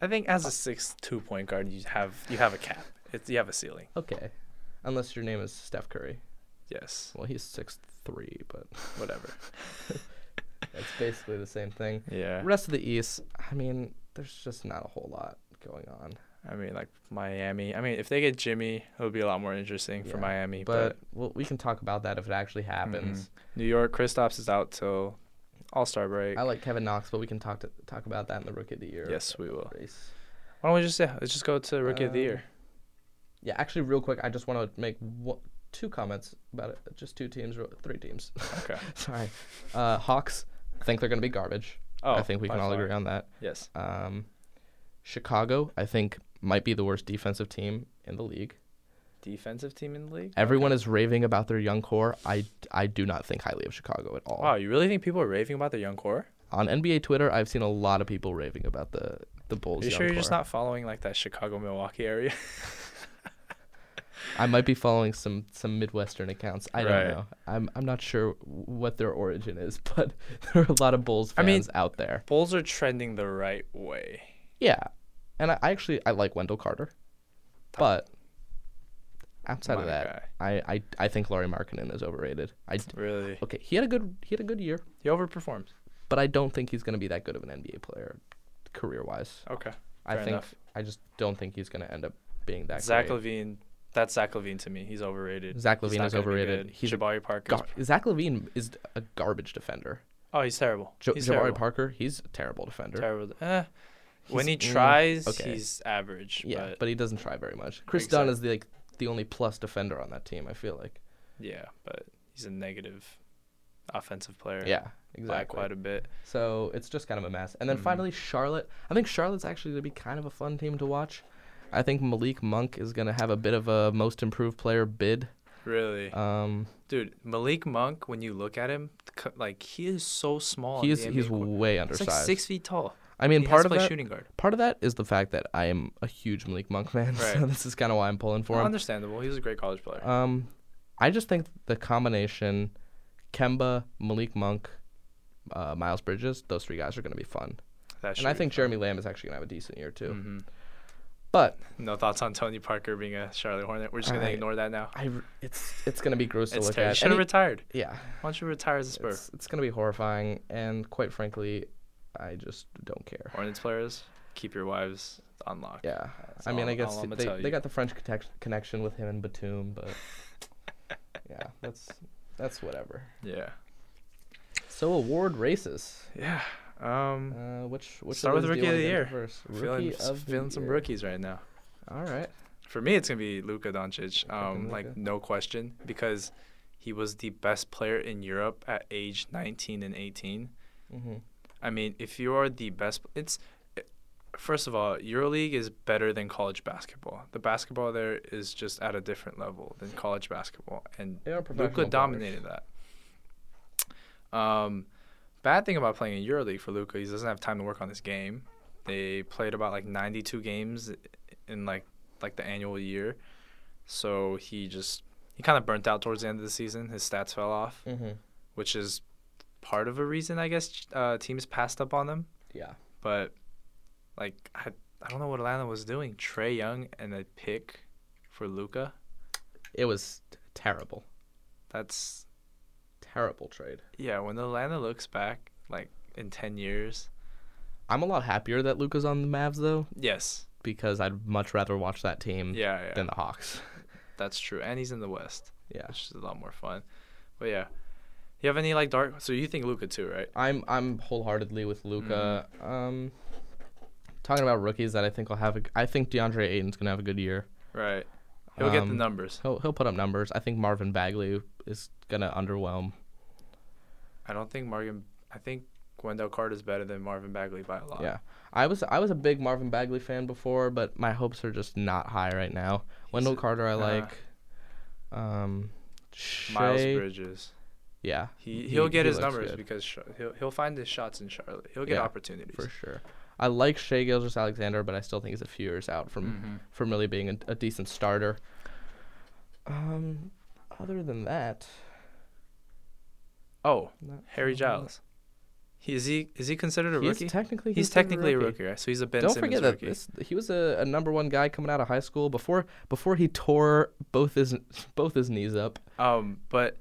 I think as a six two point guard, you have you have a cap. It's you have a ceiling.
okay. Unless your name is Steph Curry.
Yes,
Well, he's six three, but
whatever.
that's basically the same thing.
Yeah.
Rest of the East, I mean, there's just not a whole lot going on.
I mean, like Miami. I mean, if they get Jimmy, it would be a lot more interesting for
Yeah,
Miami. But, Mm-hmm.
But well, we can talk about that if it actually happens.
New York, Kristaps is out till All Star break.
I like Kevin Knox, but we can talk to, talk about that in the Rookie of the Year.
yes, we will.
Race.
Why don't we just yeah, let's just go to Rookie of the
Um,
Year.
Yeah, actually, real quick, I just want to make wo- two comments about it. Just two teams, real- three teams.
Okay.
Sorry, uh, Hawks. I think they're going to be garbage.
Oh,
I think we
by
can all
far.
agree on that.
Yes.
Um, Chicago, I think, might be the worst defensive team in the league.
Defensive team in the league.
Everyone is raving about their young core. I, I do not think highly of Chicago at all.
Wow, you really think people are raving about their young core?
On NBA Twitter, I've seen a lot of people raving about the the Bulls.
Are you
young
sure you're just
core.
not following like that Chicago Milwaukee area?
I might be following some some Midwestern accounts. I
Right.
don't know. I'm I'm not sure what their origin is, but there are a lot of Bulls
I
fans
mean-
out there.
Bulls are trending the right way.
Yeah, and I, I actually I like Wendell Carter, but outside
My
of that,
Oh. guy.
I, I I think Laurie Markkinen is overrated. I
Really,
okay, he had a good he had a good year,
he overperforms.
but I don't think he's gonna be that good of an NBA player, career wise.
Okay,
I
Oh, fair
think
enough.
I just don't think he's gonna end up being that.
Zach
great.
Levine, that's Zach Levine to me. He's overrated.
Zach
He's
Levine
not
is
gonna be
overrated.
good.
He's a
Jabari Parker.
gar- Zach Levine is a garbage defender.
oh, he's terrible.
Jo-
he's
Jabari
terrible.
Parker, he's a terrible defender.
Terrible. Eh. When he
He's- mm,
tries,
okay.
he's average.
yeah,
but,
but he doesn't try very much. Chris Dunn
Exact-
is the, like the only plus defender on that team. I feel like.
yeah, but he's a negative offensive player.
Yeah,
by
exactly.
quite a bit.
So it's just kind of a mess. And then
Mhm.
finally, Charlotte. I think Charlotte's actually going to be kind of a fun team to watch. I think Malik Monk is going to have a bit of a most improved player bid.
Really,
Um,
dude, Malik Monk. When you look at him, c- like he is so small.
he's
in the
he's
NBA court.
way
He's
undersized.
like six feet tall.
I mean,
He has
part
to
of
play
that
shooting guard.
part of that is the fact that I am a huge Malik Monk fan. So
Right.
this is kind of why I'm pulling for him.
Understandable. He was a great college player.
Um, I just think the combination, Kemba, Malik Monk, uh, Miles Bridges, those three guys are going to be fun.
That
and I think Jeremy Lamb is actually going to have a decent year too.
hmm
But
No thoughts on Tony Parker being a Charlotte Hornet. We're just gonna
I-
ignore that now.
I r- it's it's gonna be gross to
It's
look
terrible. You
at.
should
And
have
he-
retired.
yeah,
Why don't you retire as a Spur?
it's, it's gonna be horrifying, and quite frankly, I just don't care.
Hornets players, keep your wives on lock.
Yeah,
That's
I mean,
all-
I guess
all I'ma tell
they, they
you.
got the French connection connection with him and Batum, but yeah, that's that's whatever.
Yeah.
So award races.
Yeah. Um,
Uh, which which
Start with
those do
Rookie
you
of
wanna
the
get
Year.
first?
feeling
Rookie of the
feeling some
year.
rookies right now.
All right.
For me, it's gonna be Luka Doncic.
Luka,
Um, like
Luka.
no question because he was the best player in Europe at age 19 and 18.
Mm-hmm.
I mean, if you are the best, it's first of all, EuroLeague is better than college basketball. The basketball there is just at a different level than college basketball, and
They are professional.
Luca
players.
dominated that. Um, bad thing about playing in EuroLeague for Luca, he doesn't have time to work on his game. They played about like 92 games in like like the annual year, so he just he kind of burnt out towards the end of the season. His stats fell off,
Mhm.
which is part of a reason I guess uh, teams passed up on them
Yeah.
but like I, I don't know what Atlanta was doing. Trey Young and a pick for Luca.
It was terrible,
That's
terrible trade.
yeah. When Atlanta looks back, like in ten years,
I'm a lot happier that Luca's on the Mavs though.
yes,
because I'd much rather watch that team
yeah, yeah,
than the Hawks.
that's true. And he's in the West,
Yeah.
which is a lot more fun. But yeah, you have any like dark? So you think Luca too, right?
I'm I'm wholeheartedly with Luca.
Mm-hmm.
Um, talking about rookies that I think will have, a, I think DeAndre Ayton's gonna have a good year.
Right. He'll get the
Um,
numbers.
He'll he'll put up numbers. I think Marvin Bagley is gonna underwhelm.
I don't think Morgan. I think Wendell Carter is better than Marvin Bagley by a lot.
Yeah, I was I was a big Marvin Bagley fan before, but my hopes are just not high right now. Wendell Carter I
uh,
like. Um,
Miles
Shai-
Bridges.
Yeah,
He
He-
he'll get
he
his
looks
numbers
good.
because sh- he'll he'll find his shots in Charlotte. He'll get
Yeah,
opportunities.
for sure. I like Shea Gilgis Alexander, but I still think he's a few years out from
Mhm.
from really being a, a decent starter. Um, other than that,
Oh,
not
Harry
sure what
Giles. He, is he is he considered a
else. He's
rookie?
technically
He's
considered
technically a rookie, right? So he's a Ben
Don't
Simmons
forget that
rookie.
this, he was a, a number one guy coming out of high school before before he tore both his both his knees up.
Um, but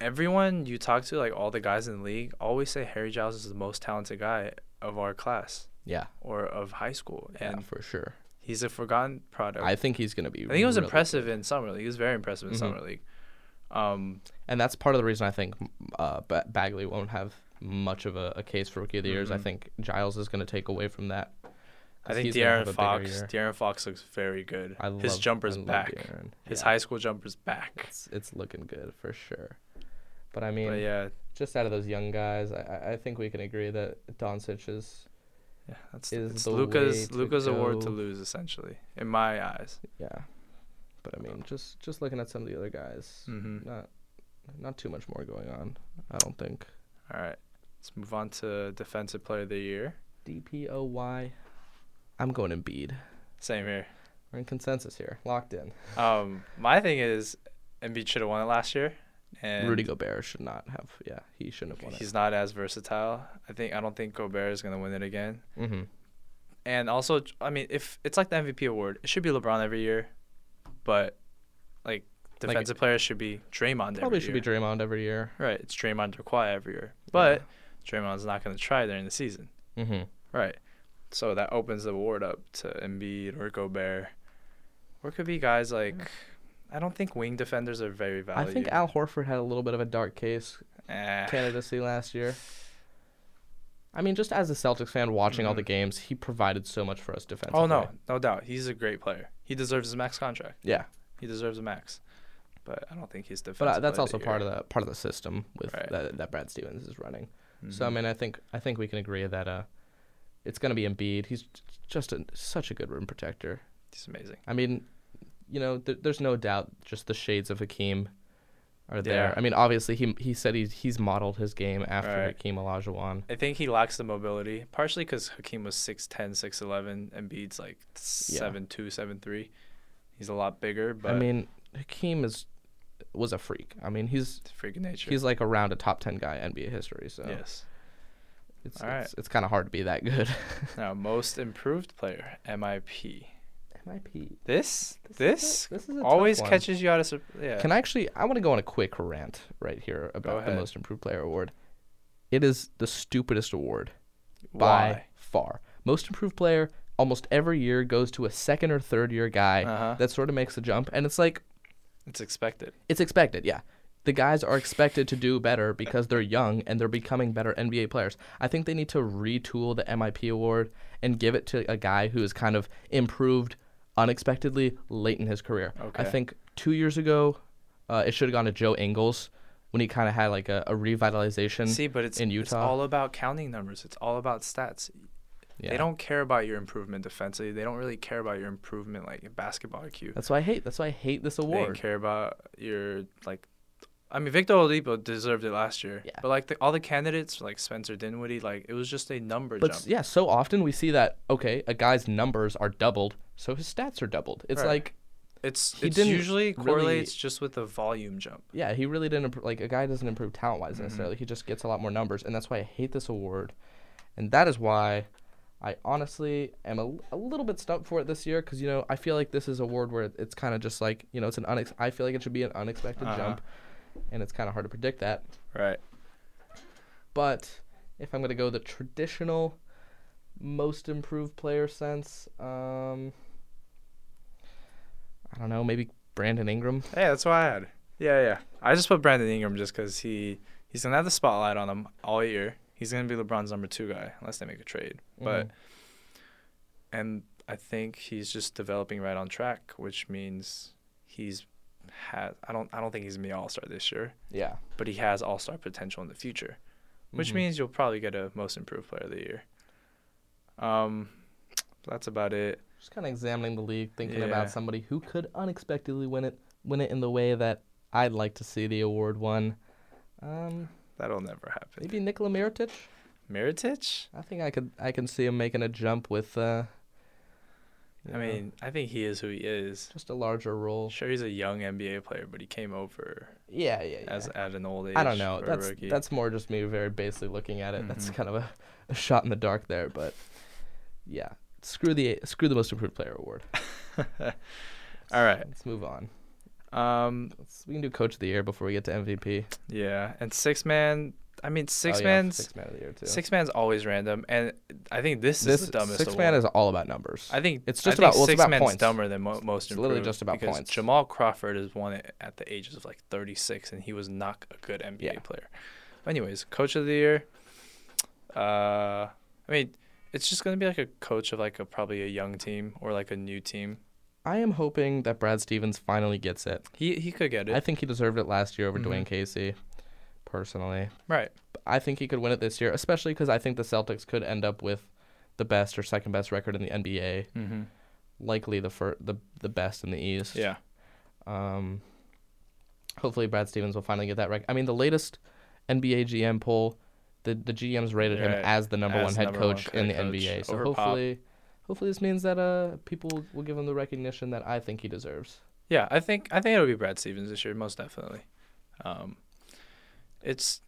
everyone you talk to, like all the guys in the league, always say Harry Giles is the most talented guy of our class
Yeah,
or of high school,
yeah,
and
for sure.
He's a forgotten product. I,
I think he's gonna be.
think he was
really-
impressive in summer league. He was very impressive in
Mhm.
summer league. Um,
and that's part of the reason I think uh, ba- Bagley won't have much of a, a case for rookie of the years. I
Mhm.
think Giles is gonna take away from that. 'cause
I think
he's gonna have a
De'Aaron
bigger
Fox.
year.
De'Aaron Fox looks very good.
I
His
love-
jumper's
I love
back.
De'Aaron.
His
Yeah.
high school jumper's back.
It's it's looking good for sure. But I mean,
but yeah,
just out of those young guys, I- I, I think we can agree that Doncic is
yeah, that's
is
it's
the
Luca's
way to
Luca's award to
go.
lose essentially in my eyes.
yeah. But I mean, just just looking at some of the other guys,
hmm
not not too much more going on. I don't think
All right, let's move on to defensive player of the year.
DPOY. I'm going Embiid.
Same here.
We're in consensus here, locked in.
Um, my thing is, Embiid should have won it last year, and
Rudy Gobert should not have. Yeah, he shouldn't have won
he's not as versatile. I think I don't think Gobert is gonna win it again.
it. Mm-hmm.
And also, I mean, if it's like the MVP award, it should be LeBron every year, but like defensive players should be Draymond.
Probably
every
should
year.
be Draymond every year.
Right, it's Draymond or Kawhi every year, but Draymond's not going to try during the season.
Mm-hmm.
Right, so that opens the award up to Embiid or Gobert, or it could be guys like. I don't think wing defenders are very
I
valued.
think Al Horford had a little bit of a dark case
Eh,
candidacy last year. I mean, just as a Celtics fan watching all the games, he provided so much for us defensively.
Mm-hmm. Oh no, no doubt. He's a great player. He deserves his max contract.
yeah,
He deserves a max. But I don't think he's defensive.
but uh, that's also part of the part of the system with
Right.
that, that Brad Stevens is running.
the year.
So I
Mhm.
mean, I think I think we can agree that uh, it's going to be Embiid. He's j- just a, such a good rim protector.
he's amazing.
I mean, you know, th- there's no doubt just the shades of Hakeem are there.
Yeah.
I mean, obviously he he said he's he's modeled his game after
Right.
Hakeem Olajuwon.
I think he lacks the mobility, partially because Hakeem was 6'10", 6'11", and Bede's like seven two, seven three. He's a lot bigger, but
I mean, Hakeem is was a freak. I mean, he's
it's freaking nature.
he's uh, like around a top 10 guy in NBA history, so
yes.
it's
All
it's, it's kind of hard to be that good.
Now, most improved player, MIP.
MIP.
This
is a-
this,
this is a tough
always
one.
catches you out of sur- yeah.
Can I actually I want to go on a quick rant right here about the
ahead.
most improved player award. It is the stupidest award by
Why?
far. Most improved player almost every year goes to a second or third year guy
Uh-huh.
that sort of makes the jump and it's like
It's expected.
It's expected, yeah. The guys are expected to do better because they're young and they're becoming better NBA players. I think they need to retool the MIP award and give it to a guy who has kind of improved unexpectedly late in his career. I
Okay.
think two years ago, uh, it should have gone to Joe Ingles when he kind of had like a, a revitalization.
See, but it's
Mm-hmm. in
it's
Utah.
all about counting numbers. It's all about stats.
Yeah.
They don't care about your improvement defensively. They don't really care about your improvement like in basketball IQ.
That's why I hate. That's why I hate this
they didn't
award.
care about your like. I mean, Victor Oladipo deserved it last year.
Yeah.
But like the, all the candidates, like Spencer Dinwiddie, like it was just a number
But
jump.
yeah, so often we see that okay, a guy's numbers are doubled, so his stats are doubled. It's
Right.
like
It's
he
it's
didn't really-
usually correlates just with the volume jump.
yeah, he really didn't improve, like a guy doesn't improve talent wise necessarily. He just gets a lot more numbers, and that's why I hate this award, and that is why I honestly am a, a little bit stumped for it this year because you know I feel like this is a award where it's kind of just like you know it's an unex- I feel like it should be an unexpected
Uh-huh.
jump, and it's kind of hard to predict that.
Right.
But if I'm gonna go the traditional most improved player sense, um, I don't know, maybe Brandon Ingram.
Hey, that's what I had. Yeah, yeah. I just put Brandon Ingram just because he he's gonna have the spotlight on him all year. He's gonna be LeBron's number two guy unless they make a trade. But and I think he's just developing right on track, which means he's had. I don't I don't think he's gonna be All Star this year,
Yeah.
but he has All Star potential in the future, which
Mhm.
means you'll probably get a Most Improved Player of the Year. Um, that's about it.
just kind of examining the league, thinking about
Yeah.
somebody who could unexpectedly win it, win it in the way that I'd like to see the award won. Um,
That'll never happen.
maybe Nikola Mirotic.
Miritich?
I think I could, I can see him making a jump with. Uh, you know,
I mean, I think he is who he is.
just a larger role.
Sure, he's a young NBA player, but he came over
Yeah, yeah, yeah.
as at an old age.
I don't know.
for a
That's
rookie.
that's more just me very basically looking at it. That's
Mhm.
kind of a, a shot in the dark there, but yeah. Screw the screw the most improved player award.
all right.
Let's move on.
Um,
Let's, we can do coach of the year before we get to MVP.
Yeah, and six man. I mean, six
Oh, yeah,
man's
six man of the year too.
six man's always random, and I think this,
this
is the dumbest.
six
award.
man is all about numbers.
I think
It's
I
just
think
about- well, it's
six
about
men's
points.
dumber than mo- most.
It's literally
improved
just about
because
points.
Jamal Crawford has won it at the ages of like 36, and he was not a good NBA
Yeah.
player. Anyways, coach of the year. Uh, I mean, it's just gonna be like a coach of like a probably a young team or like a new team.
I am hoping that Brad Stevens finally gets it.
He he could get it
I think he deserved it last year over
Mhm.
Dwayne Casey, personally.
right.
But I think he could win it this year, especially because I think the Celtics could end up with the best or second best record in the NBA,
Mm-hmm.
likely the fir- the the best in the East.
Yeah.
Um, hopefully, Brad Stevens will finally get that right. I mean, the latest NBA GM poll, the the GMs rated him
Right,
as the number
as
one
the
head
number one
coach
head
in the
coach
NBA. So
over Pop.
hopefully, hopefully this means that uh people will give him the recognition that I think he deserves.
Yeah, I think I think it'll be Brad Stevens this year, most definitely. Um, it's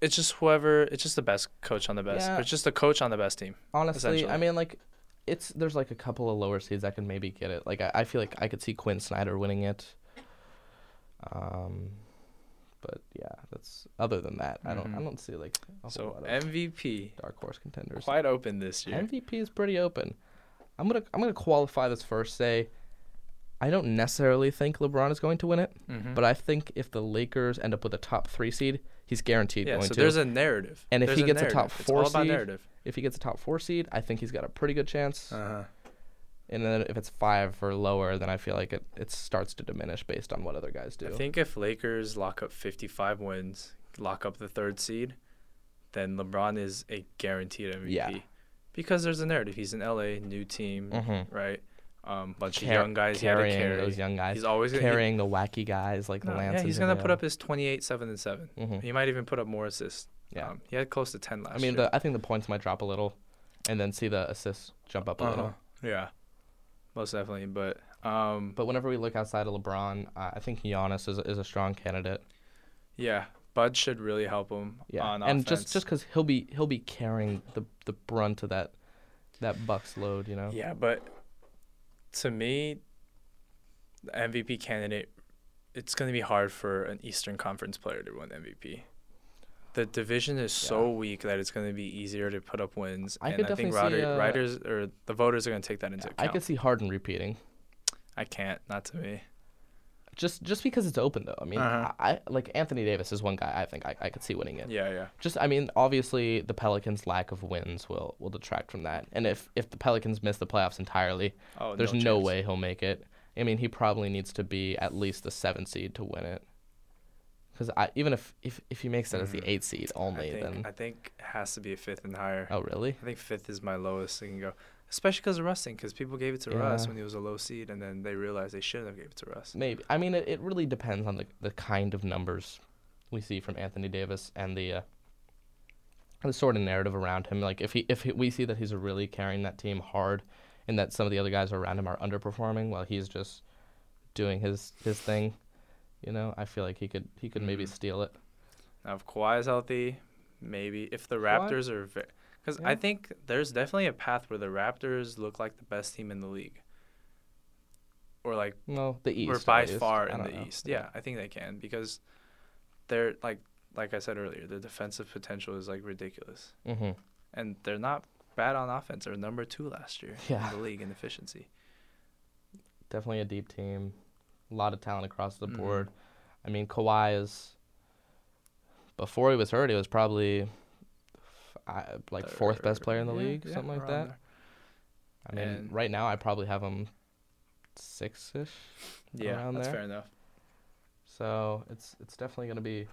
it's just whoever it's just the best coach on the best.
Yeah.
It's just the coach on the best team.
Honestly, I
Essentially.
mean, like, it's there's like a couple of lower seeds that can maybe get it. Like, I, I feel like I could see Quinn Snyder winning it. Um, but yeah, that's other than that, I don't I
Mhm.
don't see like a whole
So
lot of
MVP
dark horse contenders.
quite open this year.
MVP is pretty open. I'm gonna I'm gonna qualify this first. Say, I don't necessarily think LeBron is going to win it,
Mhm.
but I think if the Lakers end up with a top three seed, he's guaranteed
yeah,
going
so
to.
there's a narrative.
And if
There's
he gets a top
narrative.
four
it's all about
seed-
narrative.
if he gets a top four seed, I think he's got a pretty good chance.
Uh-huh.
and then if it's five or lower, then I feel like it, it starts to diminish based on what other guys do.
I think if Lakers lock up 55 wins, lock up the third seed, then LeBron is a guaranteed MVP.
Yeah.
Because there's a narrative. He's in LA, new team,
Mhm.
right? Um, bunch
Car-
of young guys he had to
carrying
carry.
those young guys,
He's always gonna- he-
carrying the wacky guys like
No,
the Lance.
yeah, he's gonna put up his 28, seven and seven.
hmm
He might even put up more assists.
Yeah,
Um, he had close to 10 last.
I mean,
year.
the, I think the points might drop a little, and then see the assists jump up a
Uh-huh.
little.
yeah, most definitely. But um,
But whenever we look outside of LeBron, uh, I think Giannis is is a strong candidate.
yeah, Bud should really help him
Yeah,
on
and
offense.
just just because he'll be he'll be carrying the the brunt of that that Bucks load, you know.
yeah, but to me, the MVP candidate, it's gonna be hard for an Eastern Conference player to win MVP. The division is so weak that it's going to be easier to put up wins,
I
and
could
I think
definitely see,
Ryder-
uh,
writers or the voters are going to take that into
I
account.
could see Harden repeating.
I can't, not to me.
Just just because it's open though. I mean,
Uh-huh.
I, I like Anthony Davis is one guy I think I, I could see winning it.
Yeah, yeah.
Just I mean, obviously the Pelicans' lack of wins will will detract from that. And if if the Pelicans miss the playoffs entirely,
Oh,
there's no,
chance.
way he'll make it. I mean, he probably needs to be at least the seventh seed to win it. Because I even if if if he makes it as the eighth seed only,
Mm. I think,
then
I think it has to be a fifth and higher.
oh really?
I think fifth is my lowest I can go, especially because of Rusting, because people gave it to
Yeah.
Russ when he was a low seed, and then they realized they shouldn't have gave it to Russ.
Maybe. I mean, it, it really depends on the, the kind of numbers we see from Anthony Davis and the uh, the sort of narrative around him. Like if he if he, we see that he's really carrying that team hard, and that some of the other guys around him are underperforming while he's just doing his his thing, you know, I feel like he could he could maybe
Mhm.
steal it.
Now, if Kawhi is healthy, maybe if the
Kawhi?
Raptors are, because
Yeah.
I think there's definitely a path where the Raptors look like the best team in the league, or like
No, the East.
or
at
by
least.
far
I
in
don't
the
know.
East. Yeah, I think they can because they're like like I said earlier, the defensive potential is like ridiculous.
Mhm.
and they're not bad on offense. They're number two last year
Yeah.
in the league in efficiency.
Definitely a deep team. A lot of talent across the
Mhm.
board. I mean, Kawhi is. Before he was hurt, he was probably f- I- like fourth best player in the
Yeah,
league,
yeah,
something like that.
around there.
I mean,
And-
right now I probably have him six ish.
Yeah,
Around
that's
there.
fair enough.
So it's it's definitely gonna be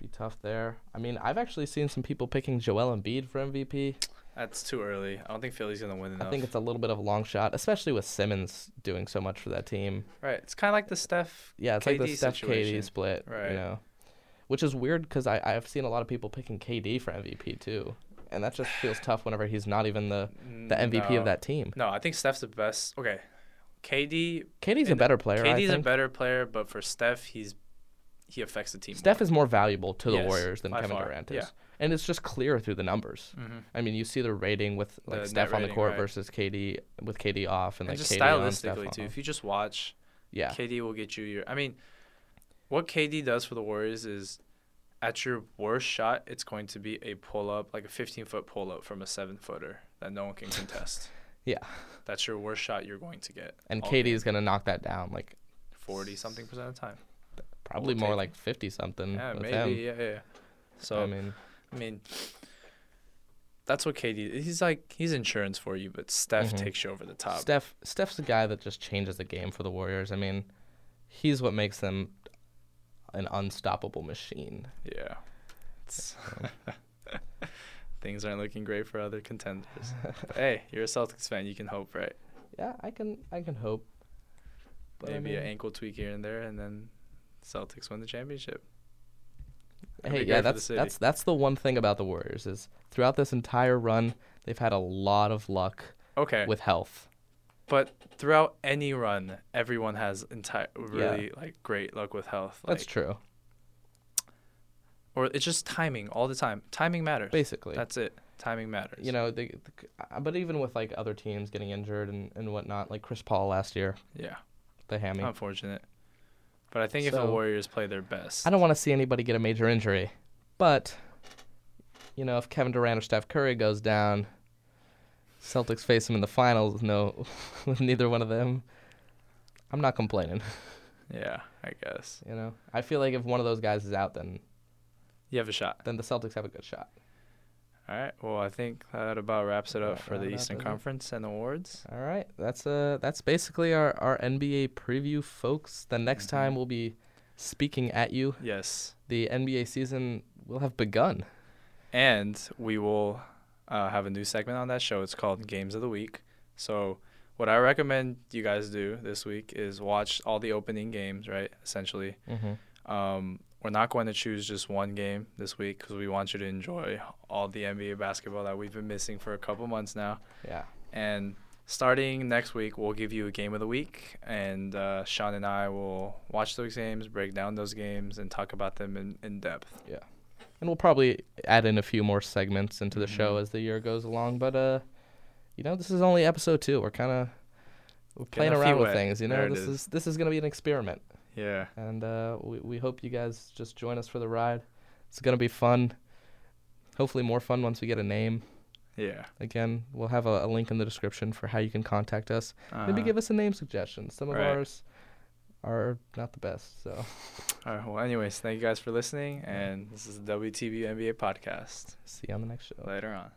be tough there. I mean, I've actually seen some people picking Joel Embiid for MVP.
That's too early. I don't think Philly's gonna win enough.
I think it's a little bit of a long shot, especially with Simmons doing so much for that team.
right. It's kind of like the Steph.
Yeah, it's like the
KD
Steph KD
situation.
split, right?
Right.
You know, which is weird because I I've seen a lot of people picking KD for MVP too, and that just feels tough whenever he's not even the the MVP
Mm, no.
of that team.
No, I think Steph's the best. Okay, KD.
KD's a
And
better player. I
KD's a
think.
better player, but for Steph, he's he affects the team.
Steph is more valuable to the
Yes,
Warriors than
by
Kevin
far,
Durant is.
yeah.
And it's just clear through the numbers.
Mm-hmm. And,
I mean, you see the rating with like
The
Steph
net
on the
rating,
court
right.
versus KD with KD off and, like
just
KD on Steph
stylistically too,
on.
if you just watch,
Yeah.
KD will get you your. I mean, what KD does for the Warriors is at your worst shot, it's going to be a pull up, like a 15 foot pull up from a seven footer that no one can contest.
Yeah.
That's your worst shot you're going to get.
And
all
Katie
game.
is gonna knock that down like
40 something percent of the time.
probably
We'll
more
take
like fifty something
Yeah,
Mm, with
maybe.
him.
Yeah, yeah. So,
I mean,
I mean, that's what KD. He's like he's insurance for you, but Steph
Mhm.
takes you over the top.
Steph Steph's a guy that just changes the game for the Warriors. I mean, he's what makes them an unstoppable machine.
Yeah. It's- Things aren't looking great for other contenders. But hey, you're a Celtics fan. You can hope, right?
Yeah, I can I can hope. But I
Maybe an
mean,
ankle tweak here and there, and then Celtics win the championship. That'd
Hey,
be
yeah,
great for the
that's
city.
that's that's the one thing about the Warriors is throughout this entire run, they've had a lot of luck
okay.
with health.
but throughout any run, everyone has entire really like great luck with health. Like,
That's true,
Or it's just timing all the time. Timing matters.
basically.
That's it. Timing matters.
you know, the, the, uh, but even with like other teams getting injured and, and whatnot, like Chris Paul last year,
Yeah.
the hammy.
Unfortunate. But I think if the
So-
Warriors play their best,
I don't want to see anybody get a major injury, but you know, if Kevin Durant or Steph Curry goes down, Celtics face them in the finals with no, with neither one of them. I'm not complaining.
yeah, I guess
You know, I feel like if one of those guys is out, then
you have a shot.
then the Celtics have a good shot.
All right. Well, I think that about wraps it up
That
for the
about
Eastern
wraps it up.
Conference and awards.
All right, that's uh that's basically our our NBA preview, folks. The next
Mhm.
time we'll be speaking at you,
Yes.
the NBA season will have begun.
And we will uh, have a new segment on that show. It's called Games of the Week. So, what I recommend you guys do this week is watch all the opening games, right? Essentially.
Mm-hmm.
Um, we're not going to choose just one game this week because we want you to enjoy all the NBA basketball that we've been missing for a couple months now.
Yeah.
And starting next week, we'll give you a game of the week, and uh, Sean and I will watch those games, break down those games, and talk about them in, in depth.
and we'll probably add in a few more segments into the show
Mhm.
as the year goes along. But uh, you know, this is only episode two. We're kind of we're
Getting
playing
our
around
feet
with
wet.
things. You know,
There it
this
is.
is this is gonna be an experiment,
Yeah.
and uh, we we hope you guys just join us for the ride. It's gonna be fun. Hopefully, more fun once we get a name.
Yeah.
Again, we'll have a, a link in the description for how you can contact us. Maybe
Uh-huh.
give us a name suggestion. Some of
Right.
ours are not the best, so
Uh-huh. All right. Well, anyways, thank you guys for listening, and this is the WTB NBA podcast.
see you on the next show.
Later on.